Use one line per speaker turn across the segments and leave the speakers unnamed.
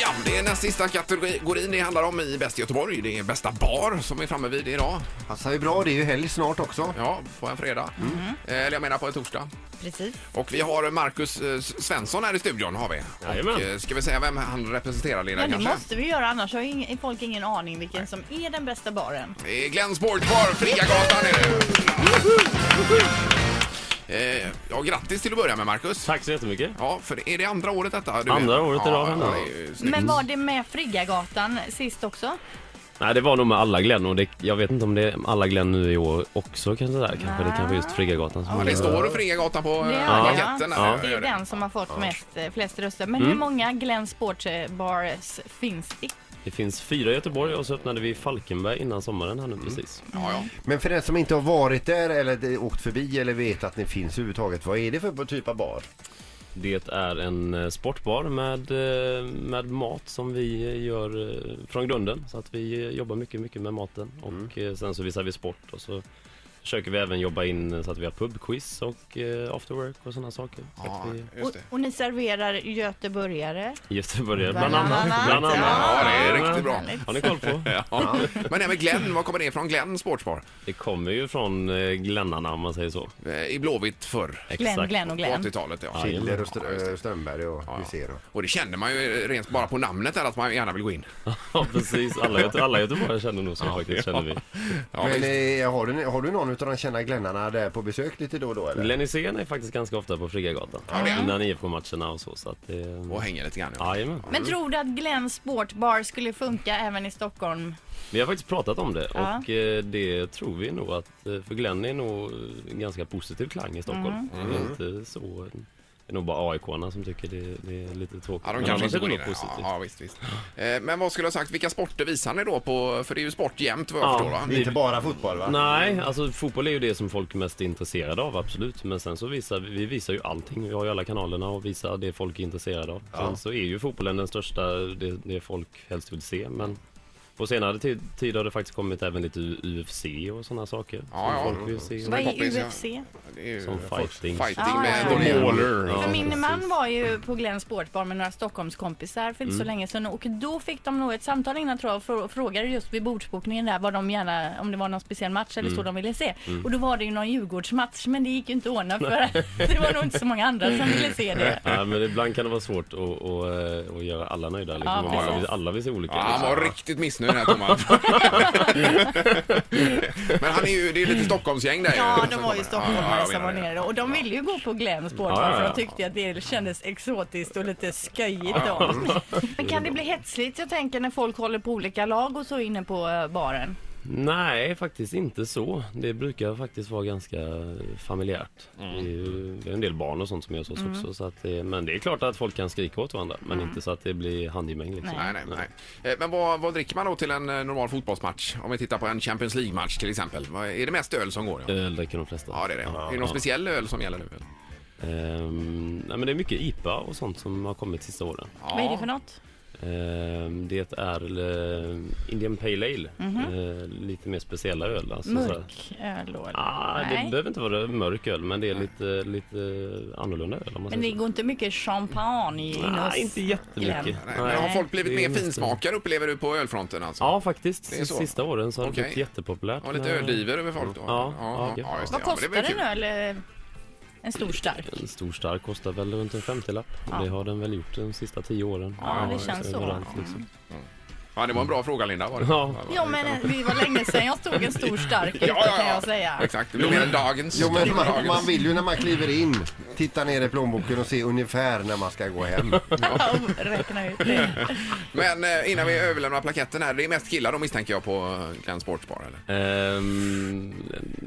Ja, det är näst sista kategorin det handlar om i Bäst i Göteborg. Det är Bästa bar som vi är framme vid idag.
Passar ju bra, det är ju helg snart också.
Ja, på en fredag.
Mm.
Eh, Eller jag menar på en torsdag.
Precis.
Och vi har Marcus eh, Svensson här i studion har vi. Och, eh, ska vi säga vem han representerar Linda
Ja, det
kanske?
måste vi göra, annars har ing- folk ingen aning vilken som är den bästa baren.
Det är Glenn Sportbar, Friagatan är det. Eh, Ja, grattis till att börja med Marcus.
Tack så jättemycket.
Ja, för det- är det andra året detta? du
Andra
är-
året i rad,
ja,
ändå.
det är ju snyggt.
Men var det med Friggagatan sist också?
Nej, det var nog med alla Glenn och det, jag vet inte om det är alla Glenn nu i år också kanske där. Kanske det kanske just Friggagatan som
Ja, det står Friagatan på
Det
eh,
gör det,
plaketten.
ja.
här.
Det är den som har fått mest, eh, flest röster. Men hur många Glenn Sports eh, Bars finns det?
Det finns fyra i Göteborg och så öppnade vi i Falkenberg innan sommaren
Mm.
här nu precis.
Ja, ja.
Men för den som inte har varit där eller det- åkt förbi eller vet att ni finns överhuvudtaget, vad är det för typ av bar?
Det är en eh, sportbar med, eh, med mat som vi eh, gör eh, från grunden. Så att vi eh, jobbar mycket, mycket med maten
Mm.
och eh, sen så visar vi sport och så försöker vi även jobba in eh, så att vi har pubquiz och eh, after work och sådana saker. Så
Ja,
att vi,
just
Och,
det.
och ni serverar göteborgare.
Göteborgare
Bland
bland annat.
annat.
Ja, det är riktigt bra.
Har ni koll på?
Ja. Men även Glenn, var kommer det ifrån? Glenn Sportsbar?
Det kommer ju från eh, glännarna om man säger så.
Eh, I Blåvitt förr.
Glenn, Glenn
På
och Glenn.
80-talet, ja. Ja,
Schiller och
just det.
Str- Strömberg och vi ser då.
Och det känner man ju rent bara på namnet där att man gärna vill gå in.
Ja precis, alla, Göte- alla göteborgare känner nog så faktiskt, känner vi.
Ja,
Men
visst.
eh, har du, har du någon utav de kända glännarna där på besök lite då och då eller?
Glenn Hysén är faktiskt ganska ofta på Friggagatan. Innan IFK-matcherna och så. så att det...
och hänger lite grann. Ja.
Jajamän.
Men tror du att Glenn Sport Bar skulle funka även i Stockholm?
Vi har faktiskt pratat om det
Ja.
och eh, det tror vi nog att, eh, för Glenn är nog eh, en ganska positiv klang i
Mm.
Stockholm. Det är
Mm.
inte så, det är nog bara AIK-arna som tycker det, det är lite tråkigt.
Ja, de
Men
kanske
annars
inte
är det
går in där.
nog
ja,
positivt.
ja, visst, visst. Eh, Men vad skulle jag ha sagt, vilka sporter visar ni då på? För det är ju sport jämt vad jag
Ja.
förstår va?
Inte bara fotboll va?
Nej, alltså fotboll är ju det som folk är mest är intresserade av, absolut. Men sen så visar vi, vi visar ju allting. Vi har ju alla kanalerna och visar det folk är intresserade av. Sen så är ju fotbollen den största, det, det folk helst vill se. Men på senare tid, tid har det faktiskt kommit även lite UFC och sådana saker.
Ja,
som
ja.
folk vill se.
Vad
poppis,
är
ja.
UFC?
Det är ju
Som fighting.
fighting
Ja,
med
ja, ja.
dåliga-
Baller.
För
Ja,
min
precis.
man var ju på Glenn Sportbar med några Stockholmskompisar för inte
Mm.
så länge sedan och då fick de nog ett samtal innan tror jag och frå- frågade just vid bordsbokningen där vad de gärna, om det var någon speciell match
Mm.
eller så de ville se. Och då var det ju någon Djurgårdsmatch men det gick ju inte att ordna för det var nog inte så många andra som ville se det.
Ja, men ibland kan det vara svårt att, att, att göra alla nöjda. Liksom.
Ja,
Man vill-
precis.
alla vill se olika.
Ja, han
liksom.
var riktigt missnöjd den här Thomas. Men han är ju, det är ju lite Stockholmsgäng där
Ja,
ju.
de var ju stockholmare som var
menar det.
nere och de ville ju gå på Glenn Sportbar
Ja, ja, ja.
för de tyckte att det kändes exotiskt och lite sköjigt då. Men kan det bli hetsligt jag tänker när folk håller på olika lag och så inne på eh, baren?
Nej, faktiskt inte så. Det brukar faktiskt vara ganska familjärt. Det är ju det är en del barn och sånt som gör så
Mm.
också. Så att det, men det är klart att folk kan skrika åt varandra, men inte så att det blir handgemäng. Liksom.
Nej, nej, nej. Eh, Men vad, vad dricker man då till en eh, normal fotbollsmatch? Om vi tittar på en Champions League-match till exempel. Vad- Är det mest öl som går? Ja,
Öl Eh, dricker de flesta.
ja det är det. Är det någon speciell öl som gäller nu? eller?
Ehm, nej, men det är mycket IPA och sånt som har kommit sista åren.
Vad är det för något?
Ehm, det är eh, Indian Pale Ale.
Mhm.
Eh, lite mer speciella öl. Alltså, så här-
Mörk öl då? eller?
Ah, det
Nej.
behöver inte vara mörk öl, men det är lite, lite annorlunda öl. Om man
Men det
säger så.
går inte mycket champagne in hos
Nej, inte jättemycket.
Nej. Men har folk blivit
Det
mer
är mest-
finsmakare upplever du på ölfronten alltså?
Ja, faktiskt.
Det är så.
Sista åren så har
Okej.
det blivit jättepopulärt.
Och lite
med
öldiver över folk då?
Ja, ja, okej.
just det.
Vad
Ja, men det
kostar
blir kul.
en öl? eh, En stor stark?
En stor stark eh, kostar väl runt en 50-lapp.
Ja.
Det har den väl gjort de sista tio åren.
Ja, det känns så.
överallt, liksom.
Ja, det var en bra fråga Linda. Var det?
Ja.
Ja men eh, det var länge sedan jag stod en stor stark ute
Ja, ja,
kan
ja.
jag säga.
Exakt, det blir mer än dagens.
Jo men man,
Dagens.
man vill ju när man kliver in titta ner i plånboken och se ungefär när man ska gå hem.
Och Räkna ut det.
Men eh, innan vi överlämnar plaketten här, det är mest killar då misstänker jag på eh, Glenn Sportsbar eller?
Ehm,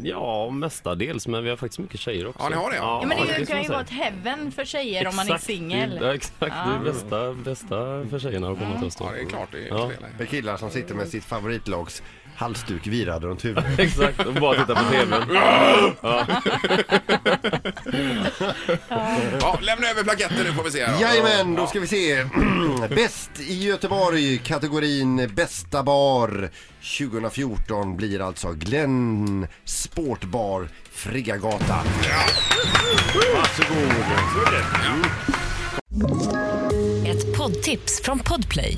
ja, mestadels. Men vi har faktiskt mycket tjejer också.
Ja, ni har det, ja.
Ja, men det
faktiskt,
kan ju
måste jag
vara ett
säga.
heaven för tjejer om man är
Exakt, det är-
singel.
Ja, exakt. Det är bästa, bästa för tjejerna att komma till oss.
Ja, det är klart det är
Ja.
fel.
Med killar som sitter med sitt favoritlags halsduk virade runt huvudet.
Exakt, och bara titta på tvn.
Ja, lämna över plaketten nu får vi se. här då.
Jajamän, då ska vi se. Bäst i Göteborg, kategorin Bästa bar 2014 blir alltså Glenn Sportbar Friggagatan. Varsågod.
Ett poddtips från Podplay.